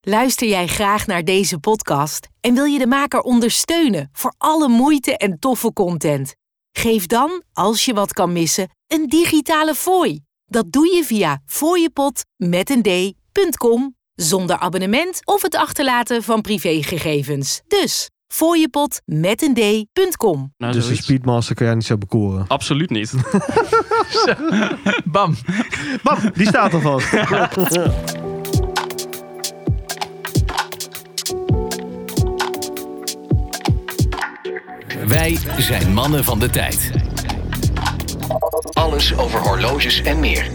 Luister jij graag naar deze podcast en wil je de maker ondersteunen voor alle moeite en toffe content? Geef dan, als je wat kan missen, een digitale fooi. Dat doe je via fooiepot.com zonder abonnement of het achterlaten van privégegevens. Dus fooiepot.com. Nou, dus de zoiets. Speedmaster kan jij niet zo bekoren. Absoluut niet. Bam. Bam, die staat al vast. Wij zijn mannen van de tijd. Alles over horloges en meer.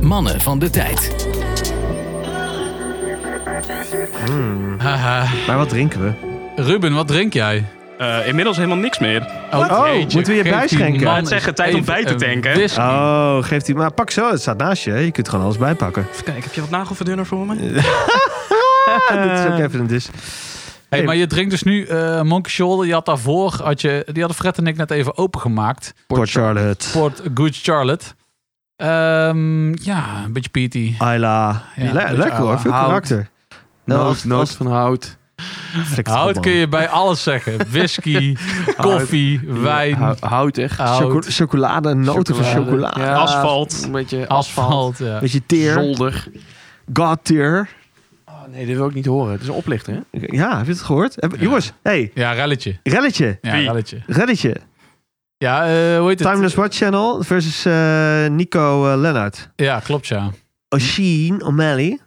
Mannen van de tijd. Haha. maar wat drinken we? Ruben, wat drink jij? Eh, inmiddels helemaal niks meer. Oh, jeetje. moeten we je Geef die bijschenken? man het zeggen, eens tijd om even bij te een tanken. whisky. Oh, geeft hij maar. Pak zo, het staat naast je. hè. Je kunt gewoon alles bijpakken. Even kijken, heb je wat nagelverdunner voor me? Ah, dit is ook even een dis. Hey, maar je drinkt dus nu eh, Monkey Shoulder. Je had daarvoor, had je, die hadden Fred en ik net even opengemaakt. Port Charlotte. Port Good Charlotte. Ehm, ja, een beetje peaty. Ayla. Ja, Le- een beetje lekker hoor, Ayla. veel Hout. Nou, karakter. Noot, Als- noot als- van hout. Flikker op, Hout man. kun je bij alles zeggen. Whisky, koffie, wijn, Hou- Hout echt. hout, Choco- chocolade, en noten van Chocolade. chocolade. Ja, Asfalt. Een beetje asfalt. asfalt. Ja. Beetje teer. Zolder. God tier. Oh, nee, dit wil ik niet horen. Het is een oplichter, hè? Ja, heb je het gehoord? Heb- Jongens, hey, ja, relletje. relletje. Ja, Wie? relletje. Relletje. Ja, eh, hoe heet het? Timeless Watch Channel versus eh, Nico eh, Lennart. Ja, klopt ja. O'Sheen O'Malley.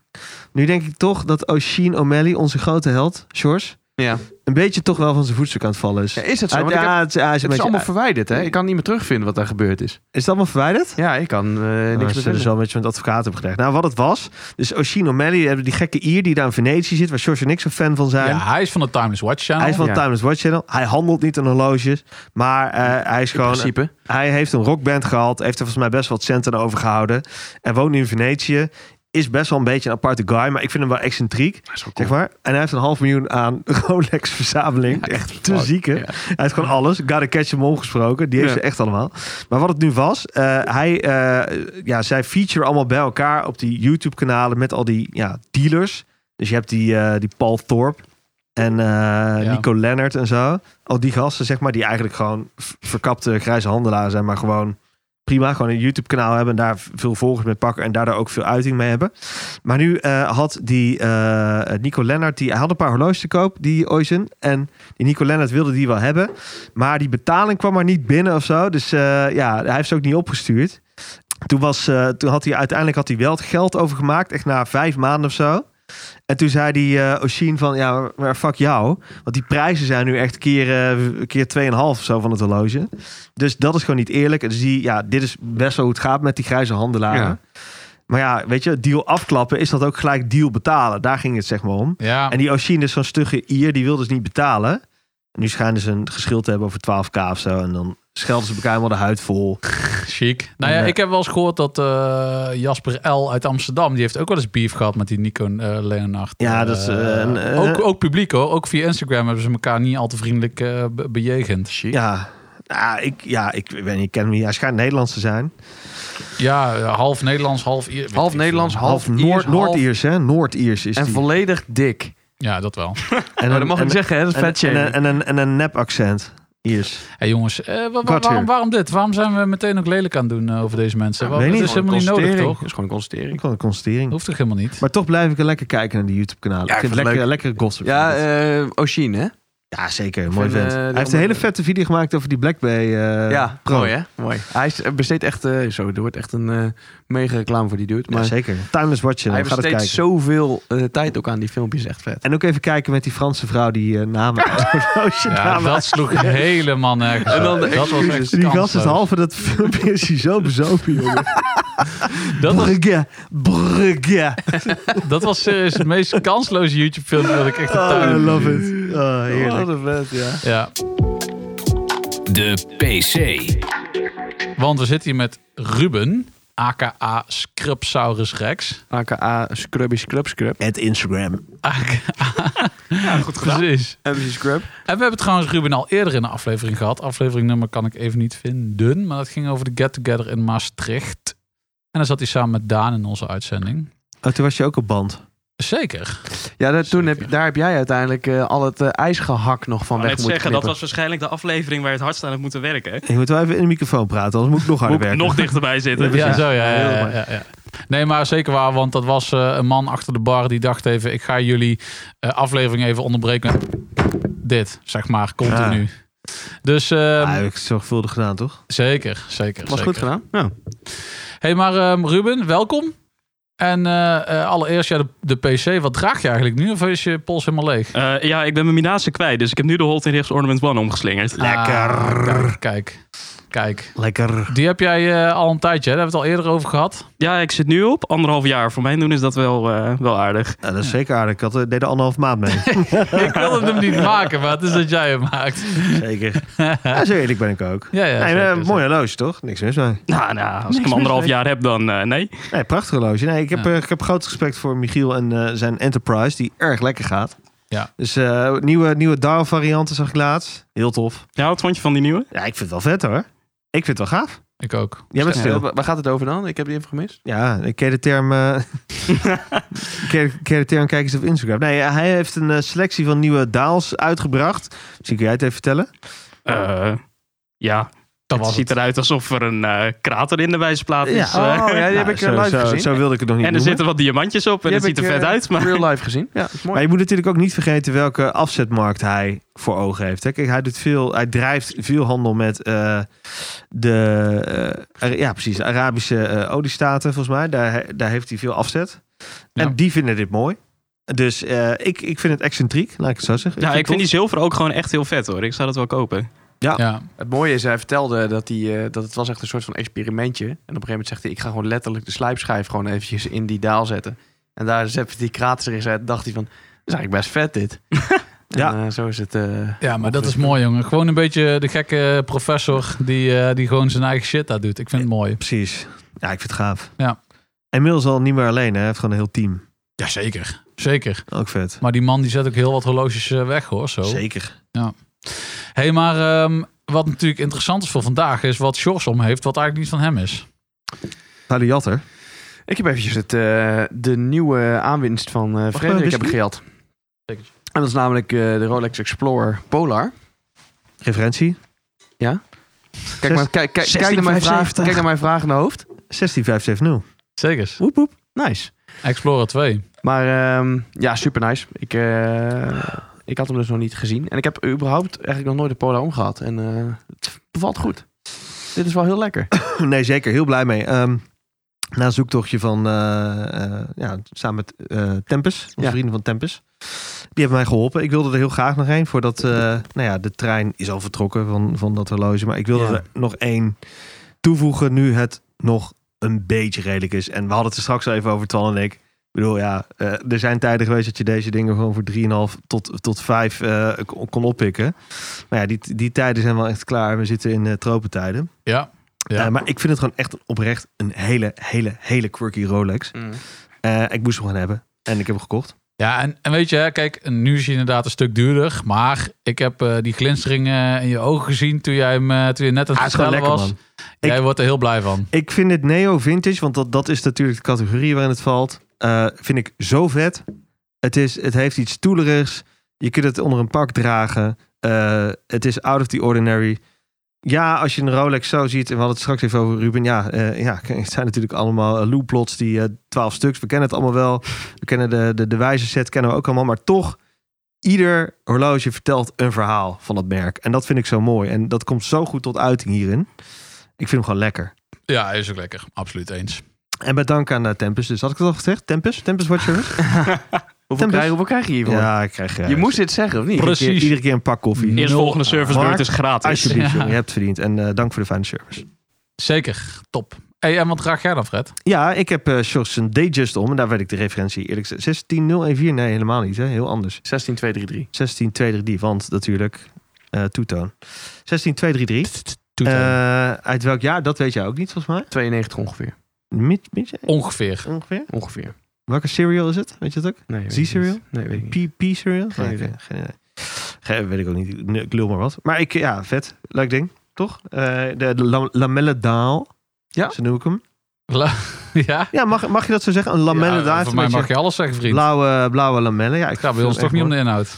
Nu denk ik toch dat O'Sheen O'Malley, onze grote held, Sjors, Ja. Ah, een beetje toch wel van zijn voetstuk aan het vallen is. Is dat zo? Hij- Want ik heb- ja, het, hij is, het een is beetje, allemaal verwijderd, hè? Ik kan niet meer terugvinden wat daar gebeurd is. is het allemaal verwijderd? Ja, ik kan eh Ja, ze niks meer zullen vinden. ze wel met je met advocaat hebben gedreigd. Nou, wat het was. Dus O'Sheen O'Malley, die hebben die gekke Ier die daar in Venetië zit, waar Sjors en ik zo fan van zijn. Ja, hij is van de Timeless Watch Channel. Hij is van Ja. Timeless Watch Channel. Hij handelt niet aan horloges. Maar eh, hij is In gewoon... principe. Hij heeft een rockband gehad. Heeft er volgens mij best wel wat centen aan overgehouden. En woont nu in Venetië. Is best wel een beetje een aparte guy. Maar ik vind hem wel excentriek. Zeg maar. En hij heeft een half miljoen aan Rolex verzameling. echt te fuck, zieke. ja. Hij heeft gewoon alles. Gotta catch hem omgesproken. Die heeft Ja. ze echt allemaal. Maar wat het nu was. eh, hij, eh, ja, zij feature allemaal bij elkaar op die YouTube kanalen. Met al die ja, dealers. Dus je hebt die, eh, die Paul Thorpe. En eh, Nico Leonard en zo. Al die gasten, zeg maar, die eigenlijk gewoon v- verkapte grijze handelaars zijn. Maar gewoon prima, gewoon een YouTube-kanaal hebben. En daar v- veel volgers mee pakken. En daardoor ook veel uiting mee hebben. Maar nu eh, had die eh, Nico Lennart, die hij had een paar horloges te koop, die Oizen. En die Nico Lennart wilde die wel hebben. Maar die betaling kwam maar niet binnen of zo. Dus eh, ja, hij heeft ze ook niet opgestuurd. Toen, was, eh, toen had hij uiteindelijk had hij wel het geld overgemaakt, echt na vijf maanden of zo. En toen zei die eh Oshin van, ja, maar fuck jou. Want die prijzen zijn nu echt keer, eh keer 2,5 of zo van het horloge. Dus dat is gewoon niet eerlijk. Dus die, ja, dit is best wel hoe het gaat met die grijze handelaren. Ja. Maar ja, weet je, deal afklappen is dat ook gelijk deal betalen. Daar ging het zeg maar om. Ja, En die Oshin is zo'n stugge Ier, die wil dus niet betalen. Nu schijnen ze een geschil te hebben over 12k of zo. En dan schelden ze elkaar helemaal de huid vol. chic. Nou ja, Nee. ik heb wel eens gehoord dat eh, Jasper L. uit Amsterdam... die heeft ook wel eens beef gehad met die Nico eh Leonard. Ja, dat is, eh, een, eh, ook, ook publiek hoor. Ook via Instagram hebben ze elkaar niet al te vriendelijk eh, be- bejegend. Ja, ja, ik, ja ik, weet niet, ik ken hem niet. Hij schijnt Nederlands te zijn. Ja, eh, half Nederlands, half... Ier- weet ik Half veel. Nederlands, half, Half Iers, Noord- half- Noord-Iers, hè? Noord-Iers is En die. volledig dik. Ja, dat wel. En Nou, een- dat mag en- ik zeggen, hè? Dat is En, vet en, en, en, en, en een nep accent. Iers. Hey jongens, eh, wa- wa- Kwartier. waarom, waarom dit? Waarom zijn we meteen ook lelijk aan het doen eh, over deze mensen? weet Want het niet. is helemaal niet nodig, toch? Dat is gewoon een Ik constatering. had een constatering. Hoeft toch helemaal niet? Maar toch blijf ik lekker kijken naar die YouTube-kanalen. Ja, ik ik vind het vind lekker, het lekker gossip. Ja, eh Oshin, hè? ja, zeker. Mooi vind, vent. eh, de Hij heeft een andere- hele vette video gemaakt over die Black Bay eh, ja, Pro. mooi, hè? Mooi. Hij is- eh, besteedt echt... eh, zo, er wordt echt een eh, mega reclame voor die dude. Ja, Maar zeker. Timeless Watch hij Channel. Ga dat besteedt kijken. zoveel eh, tijd ook aan die filmpjes. Echt vet. En ook even kijken met die Franse vrouw die eh, namen... Ja, horlogenamen- dat sloeg helemaal nergens. En dan op. de dat was echt excuses. Die gast is kansloos. halve dat filmpje is hij zo bezopen, jongen. Dat was, Brugge, brugge. dat was serieus het meest kansloze YouTube-filmpje dat ik echt heb Oh, I tuin. love it. Oh, heerlijk. een vet, ja. Ja, De PC. want we zitten hier met Ruben. aka Scrubsaurus Rex. AKA Scrubby Scrub Scrub. Het Instagram. Ja, goed gedaan. Precies. Even Scrub. En we hebben trouwens Ruben al eerder in een aflevering gehad. Afleveringnummer kan ik even niet vinden. Maar dat ging over de Get Together in Maastricht. En dan zat hij samen met Daan in onze uitzending. Oh, toen was je ook op band. Zeker. Ja, dat, toen heb, Zeker. daar heb jij uiteindelijk eh, al het eh, ijsgehak nog van Ik weg net moeten zeggen, dat knippen. was waarschijnlijk de aflevering waar je het hardst aan hebt moeten werken. hè? Je moet wel even in de microfoon praten, anders moet ik nog harder Moet ik werken. nog dichterbij zitten. Ja, zo, ja, Heel ja, ja, mooi. ja, ja. Nee, maar zeker waar, want dat was eh, een man achter de bar die dacht even... ik ga jullie eh, aflevering even onderbreken met dit, zeg maar, continu. Dus ehm, Ah, heb ik zorgvuldig gedaan, toch? zeker, zeker. Was goed zeker. gedaan. Ja. hey, maar ehm, Ruben, welkom. En eh, eh, allereerst, ja, de, de PC, wat draag je eigenlijk nu? Of is je pols helemaal leeg? Eh, ja, ik ben mijn Minaase kwijt, dus ik heb nu de Holt in Richts Ornament One omgeslingerd. Ah, kijk, kijk, kijk. Lekker. Die heb jij eh, al een tijdje, hè? daar hebben we het al eerder over gehad. Ja, ik zit nu op anderhalf jaar. Voor mij doen is dat wel, eh, wel aardig. Ja, dat is zeker aardig. Ik had, eh, deed er anderhalf maand mee. ik wilde hem niet maken, maar het is dat jij hem maakt. zeker. Ja, zo eerlijk ben ik ook. Ja, ja, nee, zeker, eh, zeker. mooi horloge, toch? Niks mis mee. Nou, nou als ik Niks hem anderhalf mis jaar heb, dan eh, nee. Nee, prachtig horloge. Nee, ik, heb, Ja. eh, ik heb groot respect voor Michiel en eh, zijn Enterprise, die erg lekker gaat. Ja. Dus eh, nieuwe, nieuwe Darl varianten zag ik laatst. Heel tof. Ja, wat vond je van die nieuwe? Ja, ik vind het wel vet hoor. Ik vind het wel gaaf. Ik ook. Jij bent stil. Waar gaat het over dan? Ik heb die even gemist. Ja, ik ken de term. eh, ik ken ik ken de term kijkers op Instagram. Nee, hij heeft een eh, selectie van nieuwe daals uitgebracht. Misschien kun jij het even vertellen. Eh, ja, Dat het was ziet het. eruit alsof er een eh, krater in de wijsplaat is. eh. Oh, ja, die heb ik eh, zo, live zo, gezien. zo wilde ik het nog niet en er noemen. zitten wat diamantjes op en Die het heb ziet er ik, vet eh, uit. Maar Real life gezien. Ja, dat is mooi. Maar je moet natuurlijk ook niet vergeten welke afzetmarkt hij voor ogen heeft. Hè? Kijk, hij, doet veel, hij drijft veel handel met eh, de, eh, Ara- ja, precies, de Arabische eh oliestaten, volgens mij. Daar, he- daar heeft hij veel afzet. Ja. En die vinden dit mooi. Dus eh, ik, ik vind het excentriek, laat ik het zo zeggen. ja, ik vind die het zilver ook gewoon echt heel vet hoor. Ik zou dat wel kopen. Ja, Het mooie is, hij vertelde dat, hij, eh, dat het was echt een soort van experimentje. En op een gegeven moment zegt hij, ik ga gewoon letterlijk de slijpschijf gewoon eventjes in die daal zetten. En daar zette die krater erin zet, dacht hij van, dat is eigenlijk best vet dit. Ja. En, eh, zo is het. eh, ja maar dat is mooi, jongen. Gewoon een beetje de gekke professor die, eh, die gewoon zijn eigen shit daar doet. Ik vind het mooi. Precies. Ja, ik vind het gaaf. Ja. En Mills al niet meer alleen, hè. hij heeft gewoon een heel team. Jazeker. Zeker. Ook vet. Maar die man die zet ook heel wat horloges eh, weg, hoor. Zo. Zeker. hey, maar ehm, wat natuurlijk interessant is voor vandaag is wat Sjors om heeft, wat eigenlijk niet van hem is. Paliotter. Ik heb eventjes het, eh, de nieuwe aanwinst van eh even, Frederik heb ik whisky? gejat. Zeker. En dat is namelijk eh, de Rolex Explorer Polar. Referentie. Kijk, maar, kijk, kijk, kijk, naar, mijn vraag, 16,75. kijk naar mijn vraag in de hoofd. 16570. Zeker. Woep woep. Nice. Explorer 2. Maar ehm, ja, super nice. Ik, eh, ik had hem dus nog niet gezien. En ik heb überhaupt eigenlijk nog nooit de Polar omgehad. En eh, het bevalt goed. Dit is wel heel lekker. Nee, zeker. Heel blij mee. Ehm, na een zoektochtje van, eh, eh, ja, samen met eh, Tempus, onze Ja. vrienden van Tempus. Die hebben mij geholpen. Ik wilde er heel graag nog één, voordat, eh, nou ja, de trein is al vertrokken van, van dat horloge. Maar ik wilde Ja. er nog één toevoegen, nu het nog een beetje redelijk is. En we hadden het er straks al even over, Twan en ik. Ik bedoel, ja, eh, er zijn tijden geweest dat je deze dingen gewoon voor 3,5 tot, tot 5 eh, kon- kon oppikken. Maar ja, die, die tijden zijn wel echt klaar. We zitten in eh, tropentijden. Ja. Ja. Eh, maar ik vind het gewoon echt oprecht een hele, hele, hele quirky Rolex. Eh, ik moest hem gewoon hebben. En ik heb hem gekocht. Ja, en, en weet je, hè, kijk, nu is hij inderdaad een stuk duurder. Maar ik heb eh, die glinstering eh, in je ogen gezien toen jij, hem, eh, toen je net aan Hij het is gewoon vertellen lekker, was. man. Jij wordt er heel blij van. Ik vind het neo vintage, want dat, dat is natuurlijk de categorie waarin het valt. eh, vind ik zo vet. Het, is, het heeft iets stoelerigs. Je kunt het onder een pak dragen. Eh, het is out of the ordinary. Ja, als je een Rolex zo ziet, en we hadden het straks even over Ruben. Ja, eh, ja het zijn natuurlijk allemaal eh, looplots, die twaalf stuks. We kennen het allemaal wel. We kennen de, de, de wijze set, kennen we ook allemaal. Maar toch, ieder horloge vertelt een verhaal van dat merk. En dat vind ik zo mooi. En dat komt zo goed tot uiting hierin. Ik vind hem gewoon lekker. Ja, hij is ook lekker. Absoluut eens. En met dank aan eh, Tempus. Dus had ik het al gezegd? Tempus? Tempus Watcher? Hoeveel, Tempus. krijg, hoeveel krijg je hiervoor? ja, ik krijg eh, Je moest dit zeggen, of niet? Precies. iedere keer- iedere keer een pak koffie. Nee. Eerst Nul. volgende servicebeurt Mark, is gratis. Alsjeblieft, Ja. jongen. Je hebt het verdiend. En eh, dank voor de fijne service. Zeker. Top. Hey, en wat draag jij dan, Fred? Ja, ik heb eh Sjors een Dayjust om. En daar weet ik de referentie eerlijk gezegd. 16014? Nee, helemaal niet. Hè. Heel anders. 16233. 16233, want natuurlijk... eh toetoon. 16233. Toeter. Eh, uit welk jaar? Dat weet jij ook niet, volgens mij. 92 ongeveer. Mid, mid, Ongeveer. ongeveer? Ongeveer. Welke cereal is het? Weet je het ook? Nee, weet ik Z-cereal? niet. Nee, weet ik niet. P, P cereal? Geen Nee, idee. oké, Geen idee. Geen- weet ik ook niet. Nee, Ik lul maar wat. Maar ik, ja, vet. Leuk ding. Toch? Eh, de de lam- lamellendaal. Ja. Zo noem ik hem. La- ja? Ja, mag, mag je dat zo zeggen? Een lamellendaal. ja heeft voor een mij mag beetje je alles zeggen, vriend. blauwe, blauwe lamellen. Ja, ik Het gaat bij ons toch niet om de inhoud.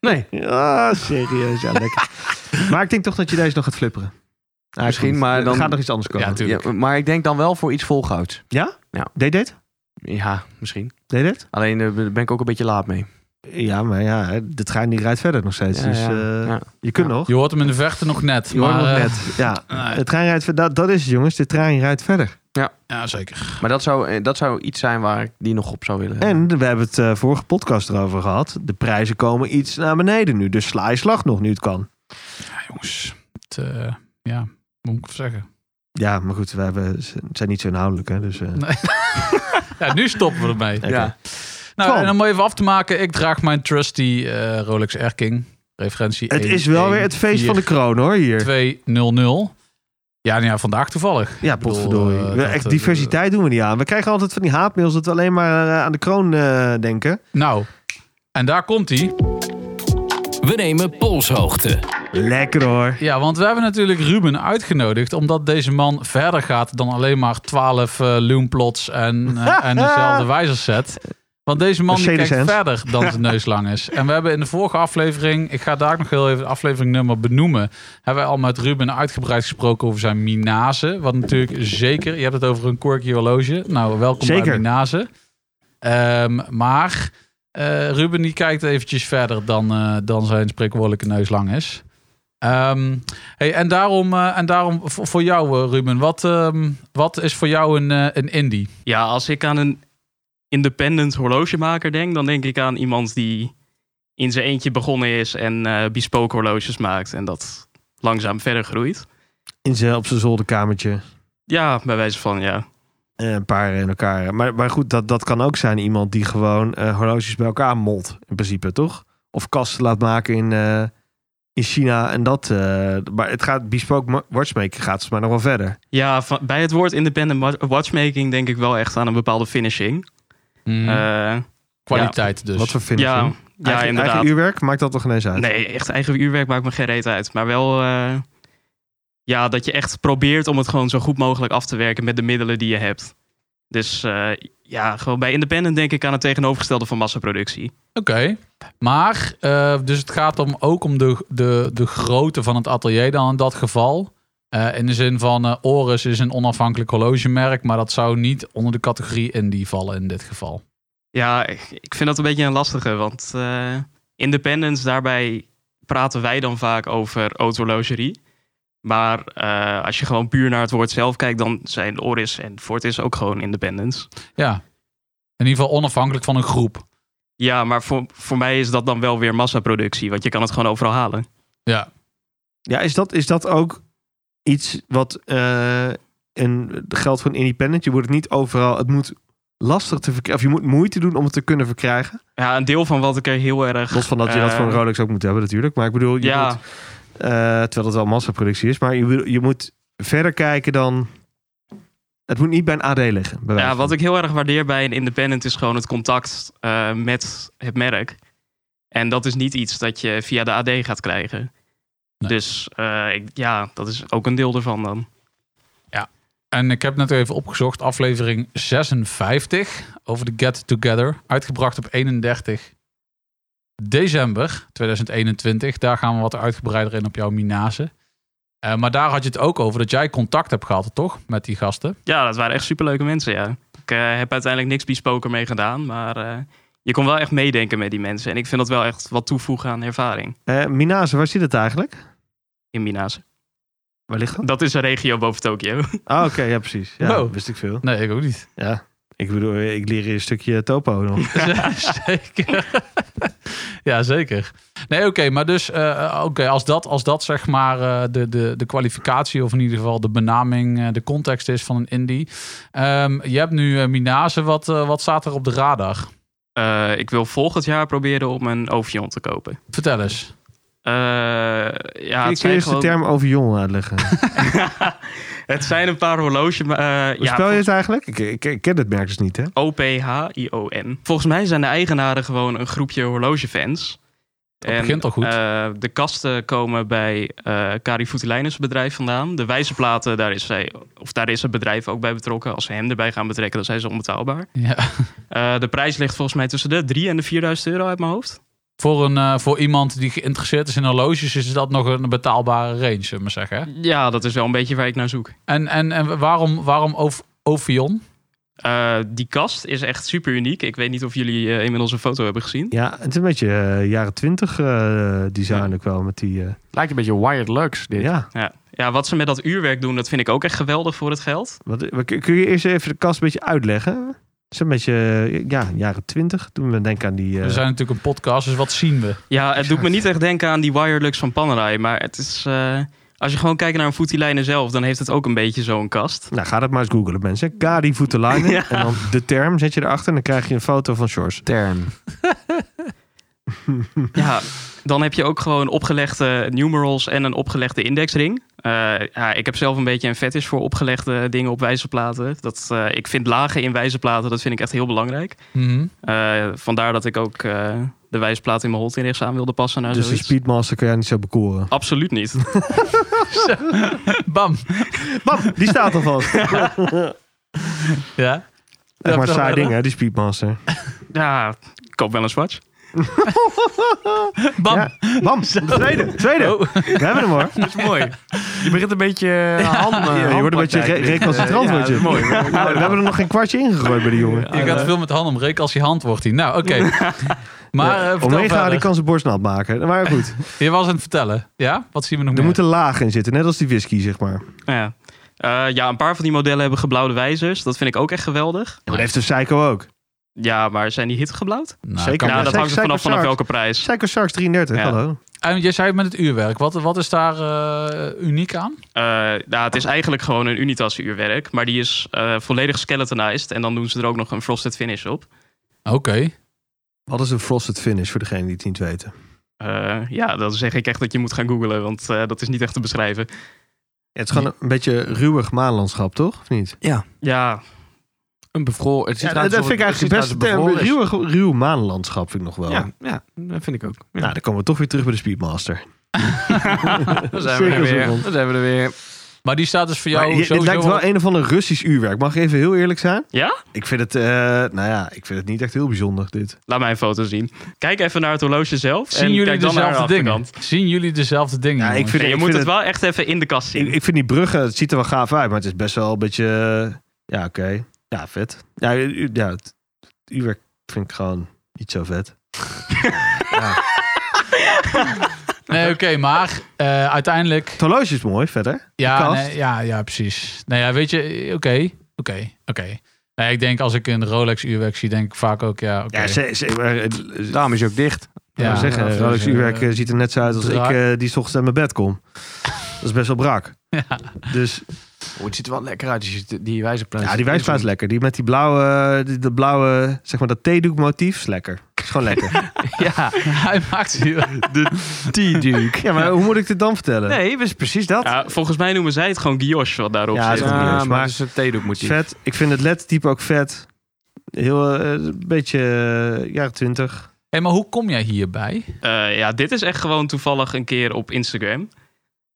Nee, Ja, serieus. Ja, lekker. maar ik denk toch dat je deze nog gaat flipperen. Ah, Misschien, goed. maar Er dan- gaat nog iets anders komen. Ja, Ja, natuurlijk. Ja, maar ik denk dan wel voor iets volgouds. deed dit? Ja, misschien. Deed dit? Alleen eh, daar ben ik ook een beetje laat mee. Ja, maar ja, de trein die rijdt verder nog steeds. Ja, dus ja, eh, ja. je kunt Ja. nog. Je hoort hem in de verte nog net. Je hoort maar, nog eh, net. Ja, nee. de trein rijdt verder. Dat, dat is het, jongens. De trein rijdt verder. Ja, zeker. Maar dat zou, eh, dat zou iets zijn waar ik die nog op zou willen. En we hebben het eh, vorige podcast erover gehad. De prijzen komen iets naar beneden nu. Dus sla je slag nog nu het kan. Ja, jongens. Het, eh, ja, moet ik zeggen. Ja, maar goed, we hebben, ze zijn niet zo inhoudelijk. Hè, dus, eh, Nee. Ja, nu stoppen we ermee. oké. Ja. Nou, Twan. en om even af te maken. Ik draag mijn trusty eh, Rolex Air King. Referentie Het is wel weer het feest van de kroon hoor hier. 200. Ja, nou ja, vandaag toevallig. Ja, Ik bedoel, potverdorie. eh, We- dat, Echt eh, diversiteit doen we niet aan. We krijgen altijd van die haatmails dat we alleen maar eh, aan de kroon eh, denken. Nou, en daar komt hij. We nemen polshoogte. Lekker hoor. Ja, want we hebben natuurlijk Ruben uitgenodigd. Omdat deze man verder gaat dan alleen maar 12 eh loomplots en, eh, en dezelfde wijzerset. Want deze man die kijkt Mercedes-Benz. verder dan zijn neus lang is. En we hebben in de vorige aflevering, ik ga daar ook nog heel even het afleveringnummer benoemen. Hebben we al met Ruben uitgebreid gesproken over zijn Minase. Wat natuurlijk zeker, je hebt het over een quirky horloge. Nou, welkom bij Zeker. Minase. Ehm, maar eh, Ruben die kijkt eventjes verder dan, eh, dan zijn spreekwoordelijke neus lang is. Ehm, hey, en daarom, eh, en daarom voor, voor jou, eh, Ruben, wat, ehm, wat is voor jou een, eh, een indie? Ja, als ik aan een independent horlogemaker denk, dan denk ik aan iemand die in zijn eentje begonnen is en eh bespoke horloges maakt en dat langzaam verder groeit. In zijn, op zijn zolderkamertje. Ja, bij wijze van ja. Eh, een paar in elkaar. Maar, maar goed, dat, dat kan ook zijn iemand die gewoon eh, horloges bij elkaar molt. In principe, toch? Of kasten laat maken in, eh, in China en dat. eh, maar het gaat, bespoke ma- watchmaker gaat volgens mij nog wel verder. Ja, va- bij het woord independent wa- watchmaking denk ik wel echt aan een bepaalde finishing. Eh, Mm, Kwaliteit dus. Wat voor Mhm. finishing? ja, ja, eigen, inderdaad. eigen uurwerk maakt dat toch geen eens uit? Nee, echt eigen uurwerk maakt me geen reet uit. Maar wel eh, ja, dat je echt probeert om het gewoon zo goed mogelijk af te werken met de middelen die je hebt. Dus eh, ja, gewoon bij independent denk ik aan het tegenovergestelde van massaproductie. Oké, maar eh, dus het gaat om, ook om de, de, de grootte van het atelier dan in dat geval. Eh, in de zin van, eh Oris is een onafhankelijk horlogemerk, maar dat zou niet onder de categorie indie vallen in dit geval. Ja, ik ik vind dat een beetje een lastige, want eh independence, daarbij praten wij dan vaak over autologerie. Maar eh, als je gewoon puur naar het woord zelf kijkt, dan zijn Oris en Fortis ook gewoon independence. Ja, in ieder geval onafhankelijk van een groep. Ja, maar voor, voor mij is dat dan wel weer massaproductie, want je kan het gewoon overal halen. Ja, Ja, is dat, is dat ook iets wat eh een, geldt voor een independent? Je wordt het niet overal, het moet lastig te verkrijgen, of je moet moeite doen om het te kunnen verkrijgen. Ja, een deel van wat ik er heel erg. Los van dat je dat Eh. voor een Rolex ook moet hebben natuurlijk. Maar ik bedoel, je ja, moet, eh, terwijl het wel massaproductie is, maar je, wil- je moet verder kijken dan... Het moet niet bij een AD liggen. bij wijze ja, van. wat ik heel erg waardeer bij een independent is gewoon het contact eh, met het merk. En dat is niet iets dat je via de AD gaat krijgen. Nee. Dus eh, ik, ja, dat is ook een deel ervan dan. En ik heb net even opgezocht, aflevering 56 over de Get Together, uitgebracht op 31 december 2021. Daar gaan we wat uitgebreider in op jouw Minase. Eh, maar daar had je het ook over dat jij contact hebt gehad, toch? Met die gasten. Ja, dat waren echt superleuke mensen, ja. Ik eh, heb uiteindelijk niks bespoken mee gedaan, maar eh, je kon wel echt meedenken met die mensen. En ik vind dat wel echt wat toevoegen aan ervaring Eh, Minase, waar zit het eigenlijk? in Minase. Waar ligt dat? Dat is een regio boven Tokio. Ah, oké, ja precies. Ja, Oh. wist ik veel. Nee, ik ook niet. Ja. Ik bedoel, ik leer hier een stukje topo nog. zeker. ja, zeker. Nee, oké, maar dus eh, oké, als, dat, als dat zeg maar eh, de, de, de kwalificatie of in ieder geval de benaming, eh, de context is van een indie. Ehm, je hebt nu eh Minase, wat, eh, wat staat er op de radar? Eh, ik wil volgend jaar proberen om een Ovion te kopen. Vertel eens. Eh ja, ik het kun je zijn eerst gewoon... de term over jongen uitleggen? Het zijn een paar horloges. maar, eh, Hoe ja, spel je het eigenlijk? Ik, ik, ik ken het merk dus niet, hè? O-P-H-I-O-N. Volgens mij zijn de eigenaren gewoon een groepje horlogefans. Dat begint al goed. eh, de kasten komen bij eh Kari Voutilijnen's bedrijf vandaan. De wijzerplaten, daar is, zij, of daar is het bedrijf ook bij betrokken. Als ze hem erbij gaan betrekken, dan zijn ze onbetaalbaar. Ja. Eh, de prijs ligt volgens mij tussen de 3 en de 4000 euro uit mijn hoofd. Voor, een, eh, voor iemand die geïnteresseerd is in horloges is dat nog een betaalbare range, zullen we maar zeggen. hè? Ja, dat is wel een beetje waar ik naar zoek. En, en, en waarom, waarom Ov- Ovion? Eh, die kast is echt super uniek. Ik weet niet of jullie eh, inmiddels een foto hebben gezien. Ja, het is een beetje eh, jaren twintig eh, design ook wel. Met die, eh, Lijkt een beetje Wired Lux dit. ja. Ja. ja, wat ze met dat uurwerk doen, dat vind ik ook echt geweldig voor het geld. Wat, wat- kun je eerst even de kast een beetje uitleggen? Het is een beetje, eh, ja, jaren twintig. Toen we denken aan die... eh, We zijn natuurlijk een podcast, dus wat zien we? Ja, het doet me niet echt denken aan die Wirelux van Panerai. Maar het is, eh, als je gewoon kijkt naar een voetilijnen zelf, dan heeft het ook een beetje zo'n kast. Nou, ga dat maar eens googlen, mensen. Kari Voetelainen. Ja. En dan de term zet je erachter en dan krijg je een foto van Shores. Term. Ja, dan heb je ook gewoon opgelegde numerals en een opgelegde indexring. Eh, ja, ik heb zelf een beetje een fetish voor opgelegde dingen op wijzerplaten. Dat, eh, ik vind lagen in wijzerplaten, dat vind ik echt heel belangrijk. Mhm. Eh, vandaar dat ik ook eh, de wijzerplaat in mijn holtinrichts aan wilde passen. Naar Dus de zoiets. Speedmaster kan jij niet zo bekoren. Absoluut niet. Bam! Bam, die staat al vast. Ja. Echt maar Ja, saai verder. ding, hè, die Speedmaster. ja, ik koop wel een swatch. Bam! Ja. Bam, de tweede, tweede. Oh. We hebben hem hoor. Dat is mooi. Je begint een beetje eh, handen. je wordt een beetje re- recalcitrant, Ja, word dat je. is mooi. Nou, we hebben er nog geen kwartje ingegooid bij die jongen. Eh, Je gaat veel met de hand omreken als je hand wordt hier. Nou, oké. Maar eh, vertel Omega, die verder. kan zijn borst nat maken. Maar goed, Je was aan het vertellen. Ja? Wat zien we nog er meer? moet een laag in zitten. Net als die whisky, zeg maar. Ja. Eh, ja, een paar van die modellen hebben geblauwde wijzers. Dat vind ik ook echt geweldig. Maar dat heeft de Psycho ook. Ja, maar zijn die hit geblauwd? Nou, Zeker. kan ja, best. dat hangt er vanaf vanaf Cybershark. welke prijs. Psycho Sharks 33, Ja. hallo. En je zei het met het uurwerk. Wat, wat is daar eh, uniek aan? Eh, nou, het is eigenlijk gewoon een Unitas uurwerk. Maar die is eh, volledig skeletonized. En dan doen ze er ook nog een frosted finish op. Oké. Wat is een frosted finish, voor degene die het niet weten? Eh, ja, dan zeg ik echt dat je moet gaan googlen. Want eh, dat is niet echt te beschrijven. Ja, het is gewoon een beetje ruwig maanlandschap, toch? Of niet? Ja, Een bevroren. Het ziet Ja, eruit dat vind ik alsof het- eigenlijk best het een ziet eruit als het bevroren ruwig, ruw maanlandschap, vind ik nog wel. is. Ja, ja, dat vind ik ook. Ja. Nou, dan komen we toch weer terug bij de Speedmaster. dan, zijn we er cirkels weer, rond. dan zijn we er weer. Maar die staat dus voor Maar jou je- sowieso... dit lijkt wel een of ander Russisch uurwerk. Mag ik even heel eerlijk zijn? Ja? Ik vind het, eh, nou ja, ik vind het niet echt heel bijzonder, dit. laat mij een foto zien. Kijk even naar het horloge zelf. en Zien jullie kijk dan naar de dezelfde dingen? achterkant. Zien jullie dezelfde dingen? Ja, ik jongens? vind- Nee, je moet vind het wel echt even in de kast zien. Ik, ik vind die bruggen, het ziet er wel gaaf uit, maar het is best wel een beetje, eh, ja, oké. Ja, vet. Ja, u- ja, het uurwerk vind ik gewoon niet zo vet. Nee, oké, maar eh, uiteindelijk... Het horloge is mooi, verder. Ja, kast. nee, ja, ja, precies. Nou ja, weet je, oké, oké, oké. Nee, ik denk als ik een Rolex uurwerk zie, denk ik vaak ook, ja, oké. Ja, ze, ze, maar, eh, Daarom is je ook dicht. Ja, ja, zeggen, ja, het dus, Rolex eh, uurwerk eh, ziet er net zo uit als draak. ik eh, die 's ochtends uit mijn bed kom. Dat is best wel brak. Ja. Dus Oh, het ziet er wel lekker uit. Die, die wijzerplaat. ja, die wijsplaat is lekker. Die met die blauwe, die, dat blauwe, zeg maar dat theedoekmotief is lekker. Is gewoon lekker. Ja, eh. hij maakt ze T-Duke. ja, maar hoe moet ik dit dan vertellen? Nee, dat is precies dat. Ja, volgens mij noemen zij het gewoon guilloche wat daarop Ja, zit. dat is niet eens, maar- maar het is een theedoek moet Het is je. Vet. Ik vind het LED-type ook vet. Heel eh, een beetje eh, jaren twintig. Hé, maar hoe kom jij hierbij? Eh, ja, dit is echt gewoon toevallig een keer op Instagram.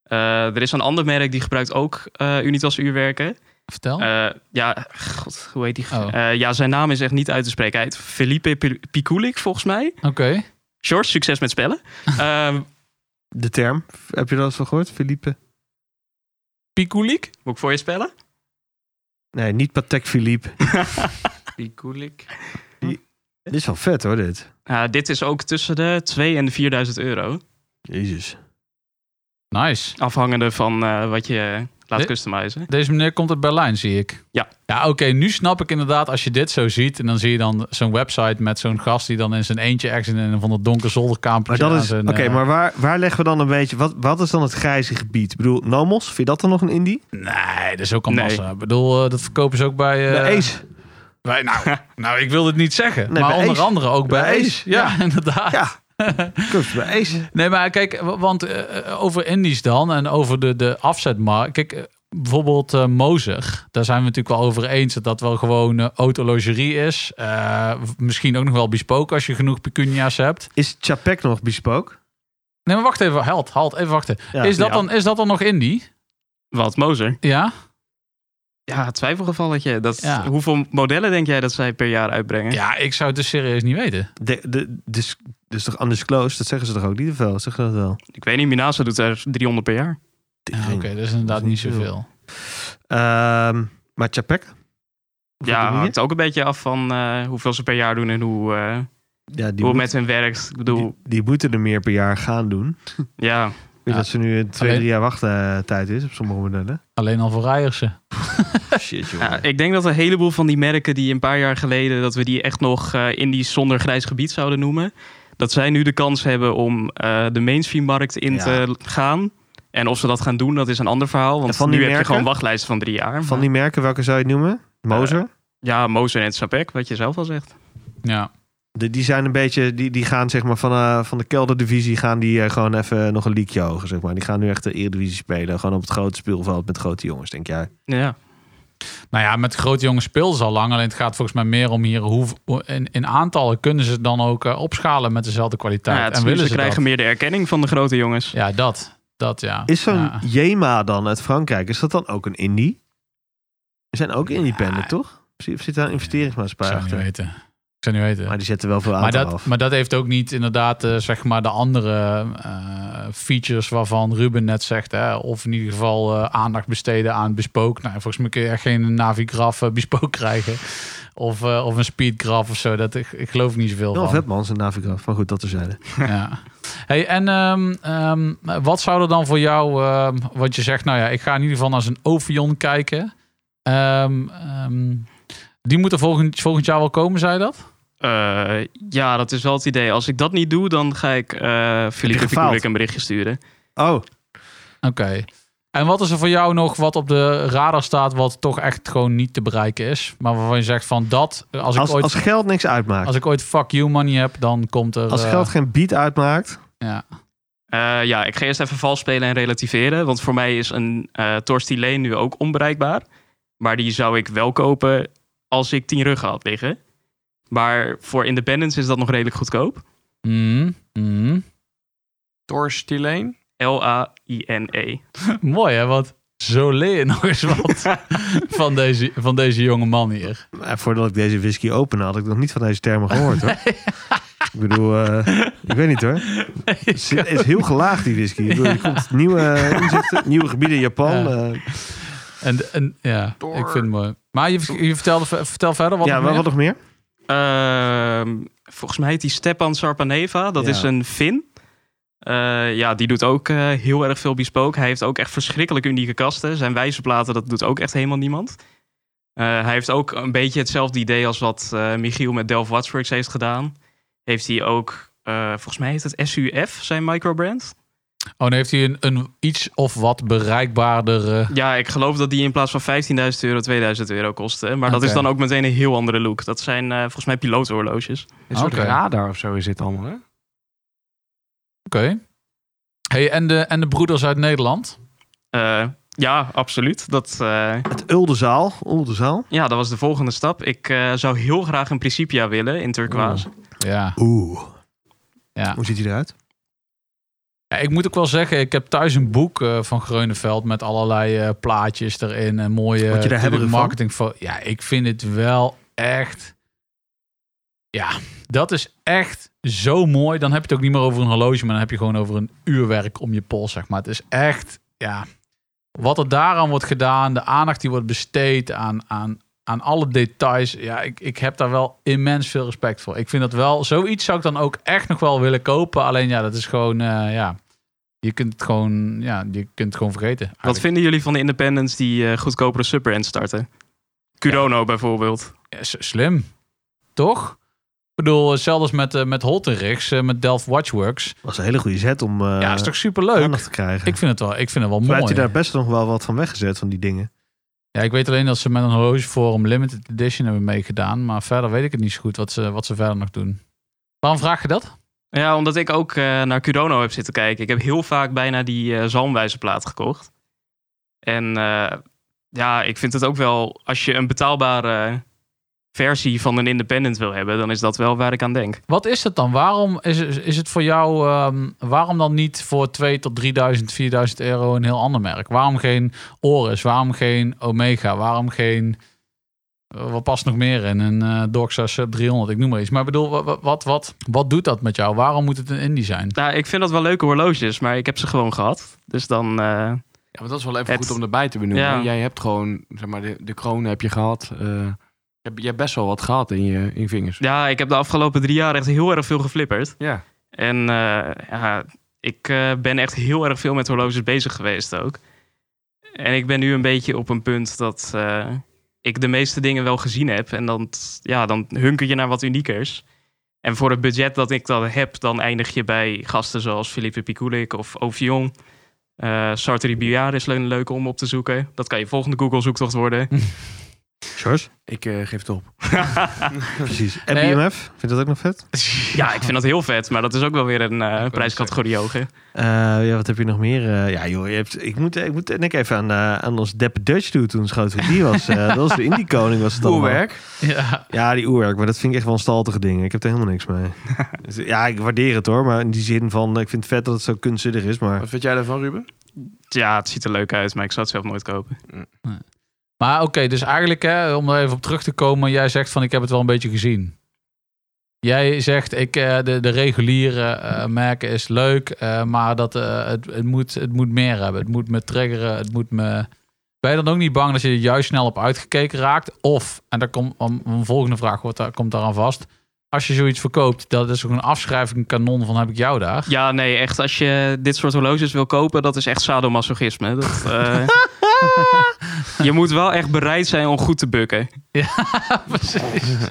Eh, er is een ander merk die gebruikt ook eh, Unitas uurwerken. Vertel. Eh, ja, god, hoe heet die? Oh. Eh, ja, zijn naam is echt niet uit te spreken. Hij heet Felipe Pi- Pikulik, volgens mij. oké. George, succes met spellen. Ehm, De term. Heb je dat eens van gehoord, Philippe? Pikulik? moet ik voor je spellen? Nee, niet Patek Philippe. Pikulik. dit is wel vet hoor, dit. Ja, dit is ook tussen de 2 en de 4000 euro. Jezus. Nice. Afhangende van eh, wat je laat Nee. customizen. Deze meneer komt uit Berlijn, zie ik. Ja. Ja, oké. nu snap ik inderdaad, als je dit zo ziet... en dan zie je dan zo'n website met zo'n gast... die dan in zijn eentje ergens in een van dat donker zolderkamertje... Maar dat aan is. zijn, Oké, eh, maar waar, waar leggen we dan een beetje. Wat, wat is dan het grijze gebied? Ik bedoel, Nomos, vind je dat dan nog een indie? Nee, dat is ook al Nee. massa. Ik bedoel, eh, dat verkopen ze ook bij... eh, Nee, Ace. Bij, nou, nou, ik wil het niet zeggen. Nee, maar bij onder Ace. andere ook bij, Bij Ace. Ace, Ja, inderdaad. Ja. Kust bij Ace. Nee, maar kijk, w- want eh, eh, over indies dan en over de, de afzetmarkt. Kijk, eh, bijvoorbeeld eh, Mozer, daar zijn we natuurlijk wel over eens dat dat wel gewoon eh, autologerie is. Eh, w- misschien ook nog wel bespoken als je genoeg pecunia's hebt. Is Chapek nog bespook? Nee, maar wacht even, halt, halt, even wachten. Ja. is, dat ja. dan, is dat dan nog indie? Wat, Mozer? Ja? Ja, twijfelgevalletje. Dat, Ja. Hoeveel modellen denk jij dat zij per jaar uitbrengen? Ja, ik zou het dus serieus niet weten. De, de, dus, dus toch undisclosed? Dat zeggen ze toch ook niet veel? Zeggen ze dat wel? Ik weet niet, Minasa doet er 300 per jaar. Ja, Ah, Oké, dat is inderdaad niet zoveel. Ehm, maar Chapek? Ja, hangt ook een beetje af van eh, hoeveel ze per jaar doen en hoe, eh, ja die, hoe het moet- met hun werkt. Ik bedoel, die, die moeten er meer per jaar gaan doen. ja. Ik weet Ja. dat ze nu een twee, Alleen- drie jaar wachttijd is op sommige modellen. Alleen al voor rijersen. Shit, joh. ja. Ik denk dat een heleboel van die merken die een paar jaar geleden... dat we die echt nog eh indies zonder grijs gebied zouden noemen... dat zij nu de kans hebben om eh, de mainstream-markt in Ja. te gaan... En of ze dat gaan doen, dat is een ander verhaal. Want En van nu die heb je merken? gewoon wachtlijsten van drie jaar. Van die merken, welke zou je het noemen? Mozer? Ja, Mozer en Sapek, wat je zelf al zegt. Ja. De- die zijn een beetje, die, die gaan zeg maar van, eh, van de kelderdivisie gaan die eh, gewoon even nog een liedje hoger, zeg maar. Die gaan nu echt de Eredivisie spelen, gewoon op het grote speelveld met grote jongens, denk jij. Ja. Nou ja, met grote jongens speel ze al lang. Alleen het gaat volgens mij meer om hier hoe, hoe- in, in aantallen kunnen ze het dan ook eh, opschalen met dezelfde kwaliteit. Ja, het is en nu, willen ze ze krijgen dat? meer de erkenning van de grote jongens. Ja, dat. Dat ja. Is zo'n Ja. Jema dan uit Frankrijk, is dat dan ook een indie? Ze zijn ook independent, Ja. toch? Of zit- Of zit daar een Ik investeringsmaatschappij zou het niet achter? weten. Ik zou het niet weten. Maar die zetten wel veel aan Maar dat, af. maar dat heeft ook niet inderdaad eh, zeg maar de andere eh, features waarvan Ruben net zegt. Hè? Of in ieder geval eh, aandacht besteden aan bespook. Nou, volgens mij kun je echt geen Navigraf eh, bespook krijgen. Of, eh, of een speedgraf of zo. Dat, ik, ik geloof er niet zoveel Wel van. vet man, zijn Navigraf. Maar goed, dat terzijde. Ja. Hey, en ehm, ehm, wat zou er dan voor jou, ehm, wat je zegt, nou ja, ik ga in ieder geval naar zijn Ovion kijken. Ehm, ehm, die moet er volgend, volgend jaar wel komen, zei je dat? Eh, ja, dat is wel het idee. Als ik dat niet doe, dan ga ik eh Felipe gefaald? Figurik een berichtje sturen. Oh, Oké. En wat is er voor jou nog wat op de radar staat, wat toch echt gewoon niet te bereiken is? Maar waarvan je zegt van dat, als ik, als, ooit, als als, geld niks uitmaakt. Als, ik ooit fuck you money heb, dan komt er... eh, geld geen beat uitmaakt. ja. Eh, ja, ik ga eerst even vals spelen en relativeren. Want voor mij is een eh Torsti Lane nu ook onbereikbaar. Maar die zou ik wel kopen als ik 10 ruggen had liggen. Maar voor Independence is dat nog redelijk goedkoop. Mm, mm. Thor Stilane. L-A-I-N-E. Mooi hè, wat zo leer je nog eens wat van, deze, van deze jonge man hier. Maar Eh, voordat ik deze whisky opende, had ik nog niet van deze termen gehoord hoor. ik bedoel, eh, ik weet niet hoor. Het is- is heel gelaagd, die whisky. Ik bedoel, Er komt nieuwe eh, inzichten, nieuwe gebieden. Japan. Ja. eh, En, en ja, Door. ik vind het mooi. Maar je, je vertelde, ver- vertel verder wat. ja, nog wat, meer? wat nog meer? Ehm, volgens mij heet die Stepan Sarpaneva. Dat Ja. is een Fin. Eh, ja, die doet ook eh, heel erg veel bespook. Hij heeft ook echt verschrikkelijk unieke kasten. Zijn wijze platen, dat doet ook echt helemaal niemand. Eh, hij heeft ook een beetje hetzelfde idee als wat eh, Michiel met Delft Watchworks heeft gedaan. Heeft hij ook, eh, volgens mij heet het SUF, zijn microbrand. Oh, dan heeft hij een, een iets of wat bereikbaarder. eh, Ja, ik geloof dat die in plaats van 15.000 euro 2000 euro kostte. Maar dat Oké. is dan ook meteen een heel andere look. Dat zijn eh, volgens mij piloothorloges. Een soort Oké. radar of zo is dit allemaal, hè? Oké. Hey, en, de, en de broeders uit Nederland? Eh, ja, absoluut. Dat, eh, Het Uldenzaal. Uldenzaal. Ja, dat was de volgende stap. Ik eh, zou heel graag een Principia willen in turquoise. Ja. Oeh. Ja. Hoe ziet hij eruit? Ja, Ik moet ook wel zeggen, ik heb thuis een boek eh, van Groeneveld met allerlei eh, plaatjes erin en mooie Word je daar natuurlijk hebberig van? marketing. Van. Ja, ik vind het wel echt. Ja, dat is echt zo mooi. Dan heb je het ook niet meer over een horloge, maar dan heb je gewoon over een uurwerk om je pols, zeg maar. Het is echt, ja. Wat er daaraan wordt gedaan, de aandacht die wordt besteed aan, aan, aan alle details. Ja, ik, ik heb daar wel immens veel respect voor. Ik vind dat wel, zoiets zou ik dan ook echt nog wel willen kopen. Alleen ja, dat is gewoon, eh, ja. Je kunt het gewoon, ja, je kunt het gewoon vergeten. Wat eigenlijk. vinden jullie van de independents die eh, goedkopere subbrand starten? Curono bijvoorbeeld. Ja, s- slim. Toch? Ik bedoel, hetzelfde als met, eh, met Holtenrichs, eh, met Delft Watchworks. was een hele goede zet om eh, ja, is toch superleuk? aandacht te krijgen. Ik vind het wel, ik vind het wel Maar mooi. heeft hij daar best nog wel wat van weggezet, van die dingen. Ja, ik weet alleen dat ze met een horlogeforum limited edition hebben meegedaan. Maar verder weet ik het niet zo goed wat ze, wat ze verder nog doen. Waarom vraag je dat? Ja, omdat ik ook eh, naar Curono heb zitten kijken. Ik heb heel vaak bijna die eh zalmwijze plaat gekocht. En eh, ja, ik vind het ook wel, als je een betaalbare versie van een independent wil hebben, dan is dat wel waar ik aan denk. Wat is het dan? Waarom is, is het voor jou, ehm, waarom dan niet voor 2 tot 3000, 4000 euro een heel ander merk? Waarom geen Oris? Waarom geen Omega? Waarom geen, eh, wat past nog meer in? Een eh Doxa Sub 300, ik noem maar iets. Maar ik bedoel, wa- wa- wat, wat, wat doet dat met jou? Waarom moet het een indie zijn? Nou, ik vind dat wel leuke horloges, maar ik heb ze gewoon gehad. Dus dan, eh, Ja, maar dat is wel even Het- goed om erbij te benoemen. Ja. Jij hebt gewoon, zeg maar, de, de kronen heb je gehad. eh, je, hebt, je hebt best wel wat gehad in je, in je vingers. ja, ik heb de afgelopen drie jaar echt heel erg veel geflipperd. Ja. En eh, ja, ik eh, ben echt heel erg veel met horloges bezig geweest ook. En ik ben nu een beetje op een punt dat eh, ik de meeste dingen wel gezien heb. En dan, t- ja, dan hunker je naar wat uniekers. En voor het budget dat ik dan heb, dan eindig je bij gasten zoals Philippe Pikulik of Ovion. Eh Sartori Biard is een leuke om op te zoeken. Dat kan je volgende Google-zoektocht worden. Sjors? Ik eh, geef het op. Precies. En Nee. BMF? Vind je dat ook nog vet? ja, ik vind dat heel vet, maar dat is ook wel weer een eh, prijscategorie hoger. Eh, ja, wat heb je nog meer? Eh, ja, joh, je hebt, ik moet, ik moet denk ik even aan, eh, aan ons Deppe Dutch doen toen schoot hoe die was. eh, dat was de Indie Koning was het allemaal. Ja, Ja, die oerwerk, maar dat vind ik echt wel een staltige ding. Ik heb er helemaal niks mee. Dus, ja, ik waardeer het hoor, maar in die zin van, eh, ik vind het vet dat het zo kunstzinnig is, maar Wat vind jij daarvan, Ruben? Ja, het ziet er leuk uit, maar ik zou het zelf nooit kopen. maar oké, dus eigenlijk hè, om er even op terug te komen. Jij zegt van ik heb het wel een beetje gezien. Jij zegt ik, eh, de, de reguliere eh, merken is leuk, eh, maar dat, eh, het, het, moet, het moet meer hebben. Het moet me triggeren, het moet me... Ben je dan ook niet bang dat je er juist snel op uitgekeken raakt? Of, en daar komt een een volgende vraag wordt, daar, komt daaraan vast. Als je zoiets verkoopt, dat is ook een afschrijving, een kanon van heb ik jou daar. Ja, nee, echt. Als je dit soort horloges wil kopen, dat is echt sadomasochisme. Dat, eh, je moet wel echt bereid zijn om goed te bukken. precies.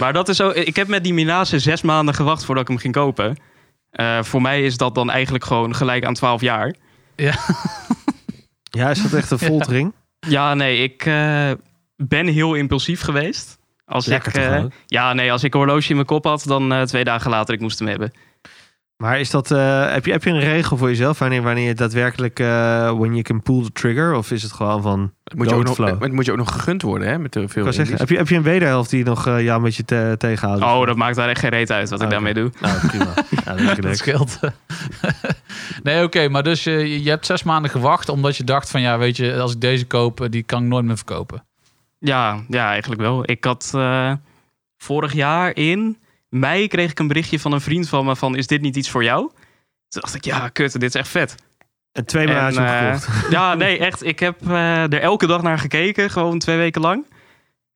Maar dat is ook. Ik heb met die Milase zes maanden gewacht voordat ik hem ging kopen. Eh, voor mij is dat dan eigenlijk gewoon gelijk aan 12 jaar. ja, is dat echt een foltering? Ja, nee, ik eh, ben heel impulsief geweest. Als Lekker ik, toch eh, ook? Ja, nee, als ik een horloge in mijn kop had, dan eh, twee dagen later ik moest hem hebben. Maar is dat, eh, heb, je, heb je een regel voor jezelf wanneer, wanneer je daadwerkelijk, eh when you can pull the trigger? Of is het gewoon van, Het moet, je ook nog, Doodflow. het moet je ook nog gegund worden, hè? Met de ik veel wou zeggen, indies. heb je, heb je een wederhelft die nog eh, jou een beetje te- tegenhoudt? Oh, dat maakt daar echt geen reet uit wat ik Ah, Oké. daarmee doe. Nou, prima. ja, dat is leuk. Dat scheelt. nee, oké, maar dus je, je hebt zes maanden gewacht omdat je dacht van ja, weet je, als ik deze koop, eh, die kan ik nooit meer verkopen. Ja, ja, eigenlijk wel. Ik had eh, vorig jaar in mei kreeg ik een berichtje van een vriend van me van is dit niet iets voor jou? Toen dacht ik, ja, kut, dit is echt vet. En twee maanden En, eh, gekocht. Ja, nee, echt. Ik heb eh, er elke dag naar gekeken, gewoon twee weken lang.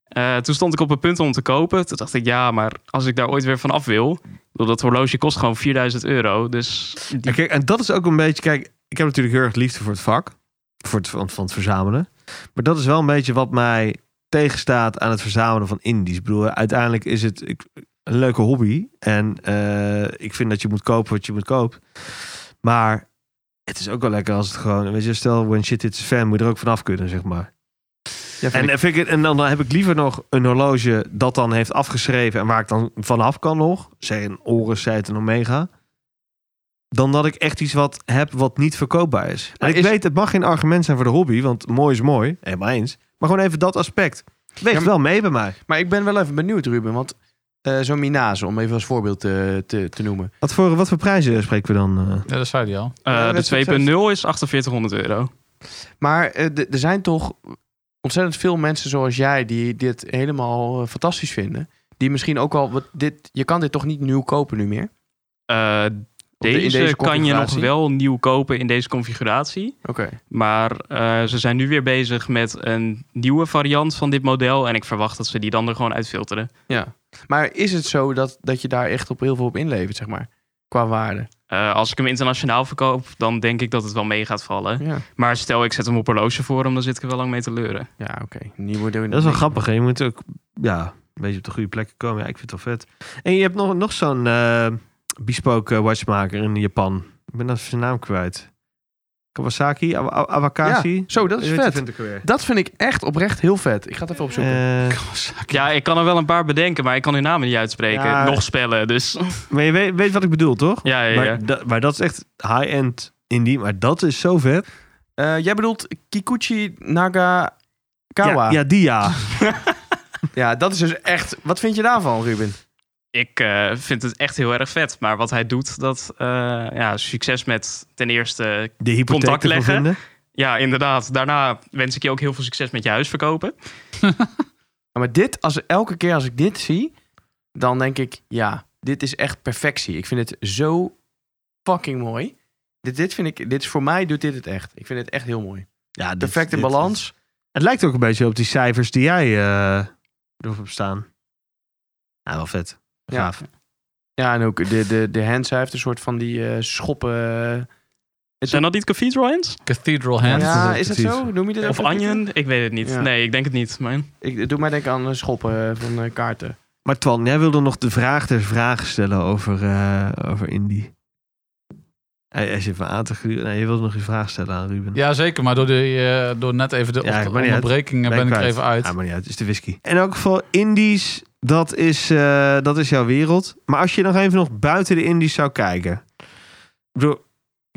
Eh, toen stond ik op het punt om te kopen. Toen dacht ik, ja, maar als ik daar ooit weer van af wil... ik bedoel, dat horloge kost gewoon 4000 euro. Dus En kijk, en dat is ook een beetje, kijk, ik heb natuurlijk heel erg liefde voor het vak, voor het, van, van het verzamelen. Maar dat is wel een beetje wat mij tegenstaat aan het verzamelen van indies. Ik bedoel, uiteindelijk is het ik- een leuke hobby en eh, ik vind dat je moet kopen wat je moet kopen. Maar het is ook wel lekker als het gewoon, weet je, stel when shit hits the fan, moet je er ook vanaf kunnen, zeg maar. en, eh, vind ik, het- en dan heb ik liever nog een horloge dat dan heeft afgeschreven en waar ik dan vanaf kan nog. Zij een Oris, zij het een Omega dan dat ik echt iets wat heb wat niet verkoopbaar is. En Maar ik is- weet, het mag geen argument zijn voor de hobby, want mooi is mooi, helemaal eens. Maar gewoon even dat aspect. Weegt maar- wel mee bij mij. Maar ik ben wel even benieuwd, Ruben. Want eh, zo'n Minase, om even als voorbeeld eh, te, te noemen. Wat voor, wat voor prijzen spreken we dan? eh? Ja, dat zei hij al. eh, Ja, dat de is 2.0 is 4800 euro. Maar eh, d- er zijn toch ontzettend veel mensen zoals jij die dit helemaal eh, fantastisch vinden. Die misschien ook al... Wat, dit, je kan dit toch niet nieuw kopen nu meer? Eh, in deze, deze kan je nog configuratie? wel nieuw kopen in deze configuratie. Oké. Maar eh, ze zijn nu weer bezig met een nieuwe variant van dit model. En ik verwacht dat ze die dan er gewoon uitfilteren. Ja. Maar is het zo dat, dat je daar echt op heel veel op inlevert, zeg maar? Qua waarde. Eh, als ik hem internationaal verkoop, dan denk ik dat het wel mee gaat vallen. Ja, Maar stel, ik zet hem op horloge voor hem, dan zit ik er wel lang mee te leuren. ja oké. Nieuwe Dat is wel grappig. Hè? Je moet ook ja, een beetje op de goede plekken komen. Ja, ik vind het wel vet. En je hebt nog, nog zo'n eh bespoke watchmaker in Japan. Ik ben dat zijn naam kwijt. Kawasaki, Awa- Awa- Awakashi. Ja, zo, dat is Je weet- vet. Vind ik er weer. Dat vind ik echt oprecht heel vet. Ik ga het even opzoeken. Eh, Ja, ik kan er wel een paar bedenken, maar ik kan hun namen niet uitspreken. Ja. Nog spellen, dus... maar je weet, weet wat ik bedoel, toch? Ja, ja, ja. Maar, da- maar dat is echt high-end indie. Maar dat is zo vet. Eh, jij bedoelt Kikuchi Nagakawa. Ja, Ja, ja, die ja. dat is dus echt... Wat vind je daarvan, Ruben? Ik eh, vind het echt heel erg vet. Maar wat hij doet, dat eh, ja, succes met ten eerste... De hypotheek Contact te leggen. vinden. Ja, inderdaad. Daarna wens ik je ook heel veel succes met je huis verkopen. Ja, maar dit, als, elke keer als ik dit zie, dan denk ik... Ja, dit is echt perfectie. Ik vind het zo fucking mooi. Dit, dit vind ik... Dit is voor mij doet dit het echt. Ik vind het echt heel mooi. Ja, dit- Perfecte dit- balans. Het lijkt ook een beetje op die cijfers die jij eh erop hebt staan. Ja, wel vet. Ja. Gaaf. Ja, en ook de, de, de hands. Hij heeft een soort van die eh, schoppen... Zijn dat niet cathedral hands? Cathedral Hand. ja, is dat precies. zo? Noem je dit Of ook? onion? Ik weet het niet. Ja. Nee, ik denk het niet. Maar... Ik, doe mij denken aan eh, schoppen van eh, kaarten. Maar Twan, jij wilde nog de vraag ter vraag stellen over, eh over Indy. Hij, hij zit me aan te gluren. Nee, je wilde nog je vraag stellen aan Ruben. Ja, zeker. Maar door, de, eh, door net even de Ja, ja, maar niet uit. onderbreking eh, ben ik er kwijt. even uit. Ja, maar niet uit. Het is de whisky. In elk geval, Indies, dat is, eh, dat is jouw wereld. Maar als je nog even nog buiten de Indies zou kijken. Ik bedoel,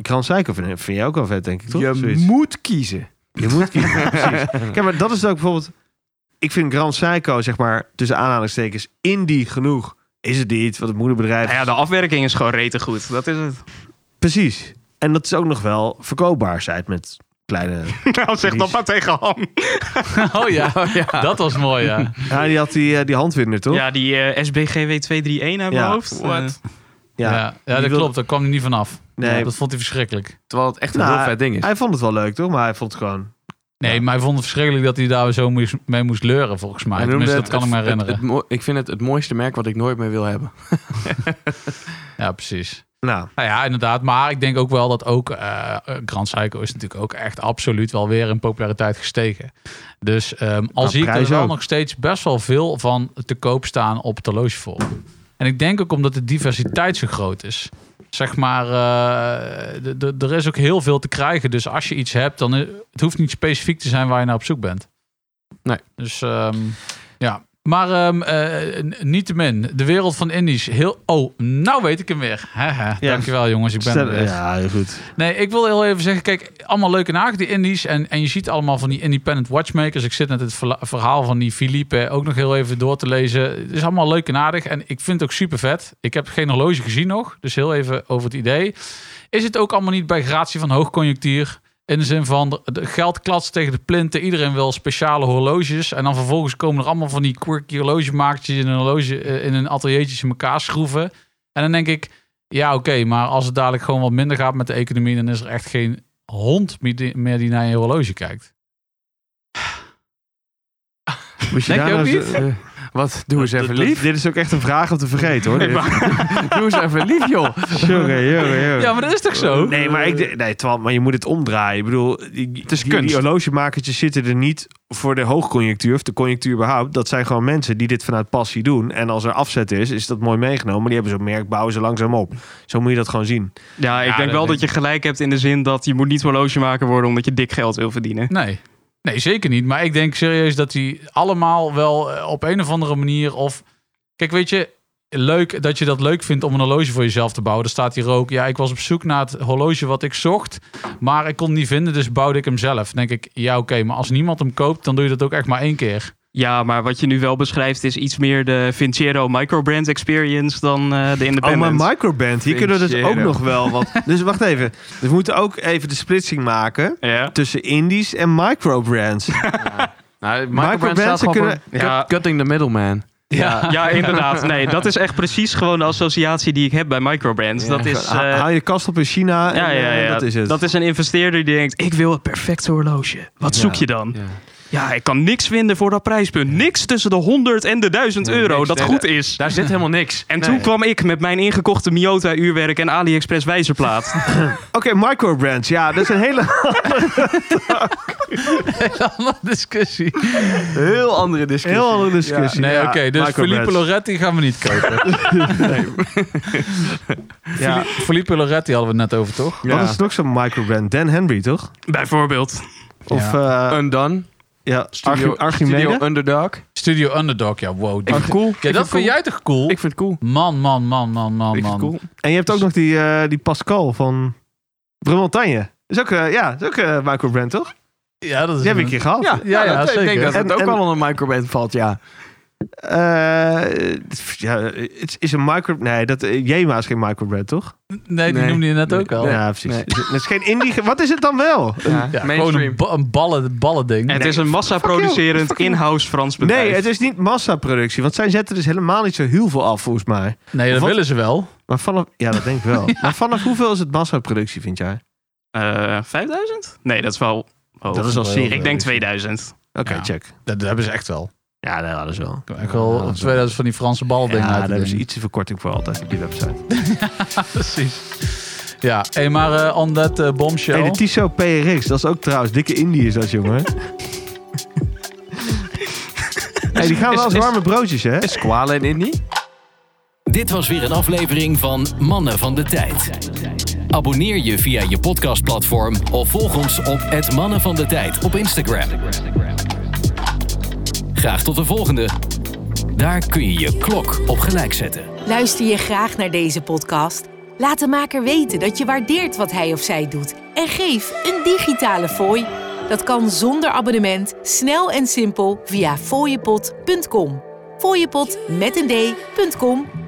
Grand Seiko vind, vind jij ook wel vet, denk ik, toch? je Zoiets. moet kiezen. Je moet kiezen, precies. Kijk, maar dat is ook bijvoorbeeld... Ik vind Grand Seiko, zeg maar, tussen aanhalingstekens, indie genoeg. Is het niet, wat het moederbedrijf... Nou ja, de afwerking is gewoon rete goed. Dat is het. Precies. En dat is ook nog wel verkoopbaar, zei het met kleine... Nou, zeg dat maar tegen Ham. Oh ja, dat was mooi, ja. Ja, die had die, eh, die handwinder, toch? Ja, die eh, SBGW231 uit mijn Ja. hoofd. What? Eh, Ja, Ja. ja, Die dat wil- klopt. Daar kwam hij niet vanaf. Nee. Ja, dat vond hij verschrikkelijk. Terwijl het echt een Nou, heel vet ding is. Hij vond het wel leuk, toch? Maar hij vond het gewoon... Nee, Ja. maar hij vond het verschrikkelijk dat hij daar zo moest, mee moest leuren, volgens mij. Hij noemde Tenminste, dat het- kan ik me het- het- herinneren. het mo- ik vind het het mooiste merk wat ik nooit meer wil hebben. ja, precies. Nou, Nou ja, inderdaad. Maar ik denk ook wel dat ook eh, Grand Psycho is natuurlijk ook echt absoluut wel weer in populariteit gestegen. Dus ehm al Qua zie ik er prijs wel ook. nog steeds best wel veel van te koop staan op het horlogeforum. En ik denk ook omdat de diversiteit zo groot is. Zeg maar, eh, d- d- er is ook heel veel te krijgen. Dus als je iets hebt, dan eh, het hoeft niet specifiek te zijn waar je naar op zoek bent. Nee. Dus ehm, ja. Maar ehm eh, n- niettemin, de wereld van indies. Heel... Oh, nou weet ik hem weer. Haha, Ja. Dankjewel jongens, ik ben er stel- weer. ja, heel goed. Nee, ik wil heel even zeggen, kijk, allemaal leuke nagen, die indies. En, en je ziet allemaal van die independent watchmakers. Ik zit net het verla- verhaal van die Philippe eh, ook nog heel even door te lezen. Het is allemaal leuk en aardig. En ik vind het ook super vet. Ik heb geen horloge gezien nog, dus heel even over het idee. Is het ook allemaal niet bij gratie van hoogconjunctuur? In de zin van de- de geld klatst tegen de plinten. Iedereen wil speciale horloges. En dan vervolgens komen er allemaal van die quirky horlogemakertjes in een horloge eh, in een ateliertje in elkaar schroeven. En dan denk ik, ja, oké, maar als het dadelijk gewoon wat minder gaat met de economie, dan is er echt geen hond meer die- meer die naar je horloge kijkt. Moest Denk je daar ook nou niet? zo- eh, Wat? Doe eens dat- even dat- lief. Dit is ook echt een vraag om te vergeten, hoor. Dit- Doe eens even lief, joh. Jongen, jongen, jongen. Ja, maar dat is toch zo? Nee, maar, ik, denk- nee, Twan, maar je moet het omdraaien. Ik bedoel, het is die, kunst. Die horlogemakertjes zitten er niet voor de hoogconjunctuur of de conjunctuur überhaupt. Dat zijn gewoon mensen die dit vanuit passie doen. En als er afzet is, is dat mooi meegenomen. Maar die hebben zo'n merk, bouwen ze langzaam op. Zo moet je dat gewoon zien. Ja, ik Ja, denk dat wel denk dat je gelijk hebt in de zin dat je moet niet horlogemaker worden omdat je dik geld wil verdienen. Nee. Nee, zeker niet. Maar ik denk serieus dat die allemaal wel eh, op een of andere manier of... Kijk, weet je, leuk dat je dat leuk vindt om een horloge voor jezelf te bouwen. Er staat hier ook, ja, ik was op zoek naar het horloge wat ik zocht, maar ik kon het niet vinden, dus bouwde ik hem zelf. Dan denk ik, ja, oké, maar als niemand hem koopt, dan doe je dat ook echt maar één keer. Ja, maar wat je nu wel beschrijft is iets meer de Vincero microbrand experience dan eh, de Oh, Independent. maar microband, hier kunnen we dus ook Vincero. nog wel wat. Dus wacht even. Dus we moeten ook even de splitsing maken Ja. tussen indies en microbrands. Nou, Michael Michael Brand staat Branson gewoon kunnen- voor Ja. cut- cutting the middleman. Ja. ja, inderdaad. Nee, dat is echt precies gewoon de associatie die ik heb bij microbrands. dat is... eh, Hou haal je kast op in China en ja, ja, eh, ja. dat is het. Dat is een investeerder die denkt, ik wil het perfecte horloge. Wat Ja. zoek je dan? Ja. Ja, ik kan niks vinden voor dat prijspunt. Niks tussen de 100 en de 1000 Nee, euro niks. dat Nee, goed is. Daar zit helemaal niks. En Nee. toen kwam ik met mijn ingekochte Miyota-uurwerk en AliExpress wijzerplaat. Oké, microbrands. Ja, dat is een hele... Allemaal discussie. Heel andere discussie. Heel andere discussie. Nee, Ja, oké, dus microbrands. Filippo Loretti gaan we niet kopen. Ja. Filippo Loretti hadden we het net over, toch? Wat is nog zo'n microbrand? Dan Henry, toch? Bijvoorbeeld. Of ja, Undone. ja Studio, Archi- Archimede? Studio Underdog. Studio Underdog, ja, wow. Ik vind het cool. Ik ja, vind dat het cool. vind jij toch cool? Ik vind het cool. Man, man, man, man, man, Ik vind het man. cool. En je hebt ook nog die, eh, die Pascal van Bremontagne. is ook, eh, ja, is ook eh, Michael Brand, toch? Ja, dat is Die heb ik een keer gehad. Ja, Ja, ja, ja, dat- ik zeker. denk dat het En- ook en- wel onder microband valt, ja. Eh, pff, ja, het is een micro... Nee, dat, eh, Jema is geen micro brand, toch? Nee, die Nee. noemde je net Nee. ook al. Nee. ja, precies. Dus Het is geen indie... ge- Wat is het dan wel? ja, Oh. Ja, gewoon een, mainstream. ba- een ballen, ballen ding. Het is een fuck massaproducerend you. Fuck you. in-house Frans bedrijf. Nee, het is niet massaproductie. Want zij zetten dus helemaal niet zo heel veel af, volgens mij. nee, dat Wat? willen ze wel. Maar vanaf... Ja, dat denk ik wel. Maar vanaf hoeveel is het massaproductie, vind jij? Eh, 5000? Nee, dat is wel hoog. Dat is al serie. Ik denk 2000. Oké, Ja. check. Nou, Dat, dat hebben ze echt wel. Ja, nee, dat is wel. Ik wel Ja, 2000 van die Franse bal Ja, dingen daar uit te hebben ze dingen. iets te verkorting voor altijd op die website. Precies. Ja, hey, maar eh, on that eh, bombshell. Hey, de Tissot PRX, dat is ook trouwens dikke Indie is dat, jongen. hey, die gaan wel als is- warme broodjes, hè? Is Koala en Indie? Dit was weer een aflevering van Mannen van de Tijd. Abonneer je via je podcastplatform of volg ons op het Mannen van de Tijd op Instagram. Graag tot de volgende. Daar kun je je klok op gelijk zetten. Luister je graag naar deze podcast? Laat de maker weten dat je waardeert wat hij of zij doet en geef een digitale fooi. Dat kan zonder abonnement, snel en simpel via fooiepot.com. Fooiepot met een d.com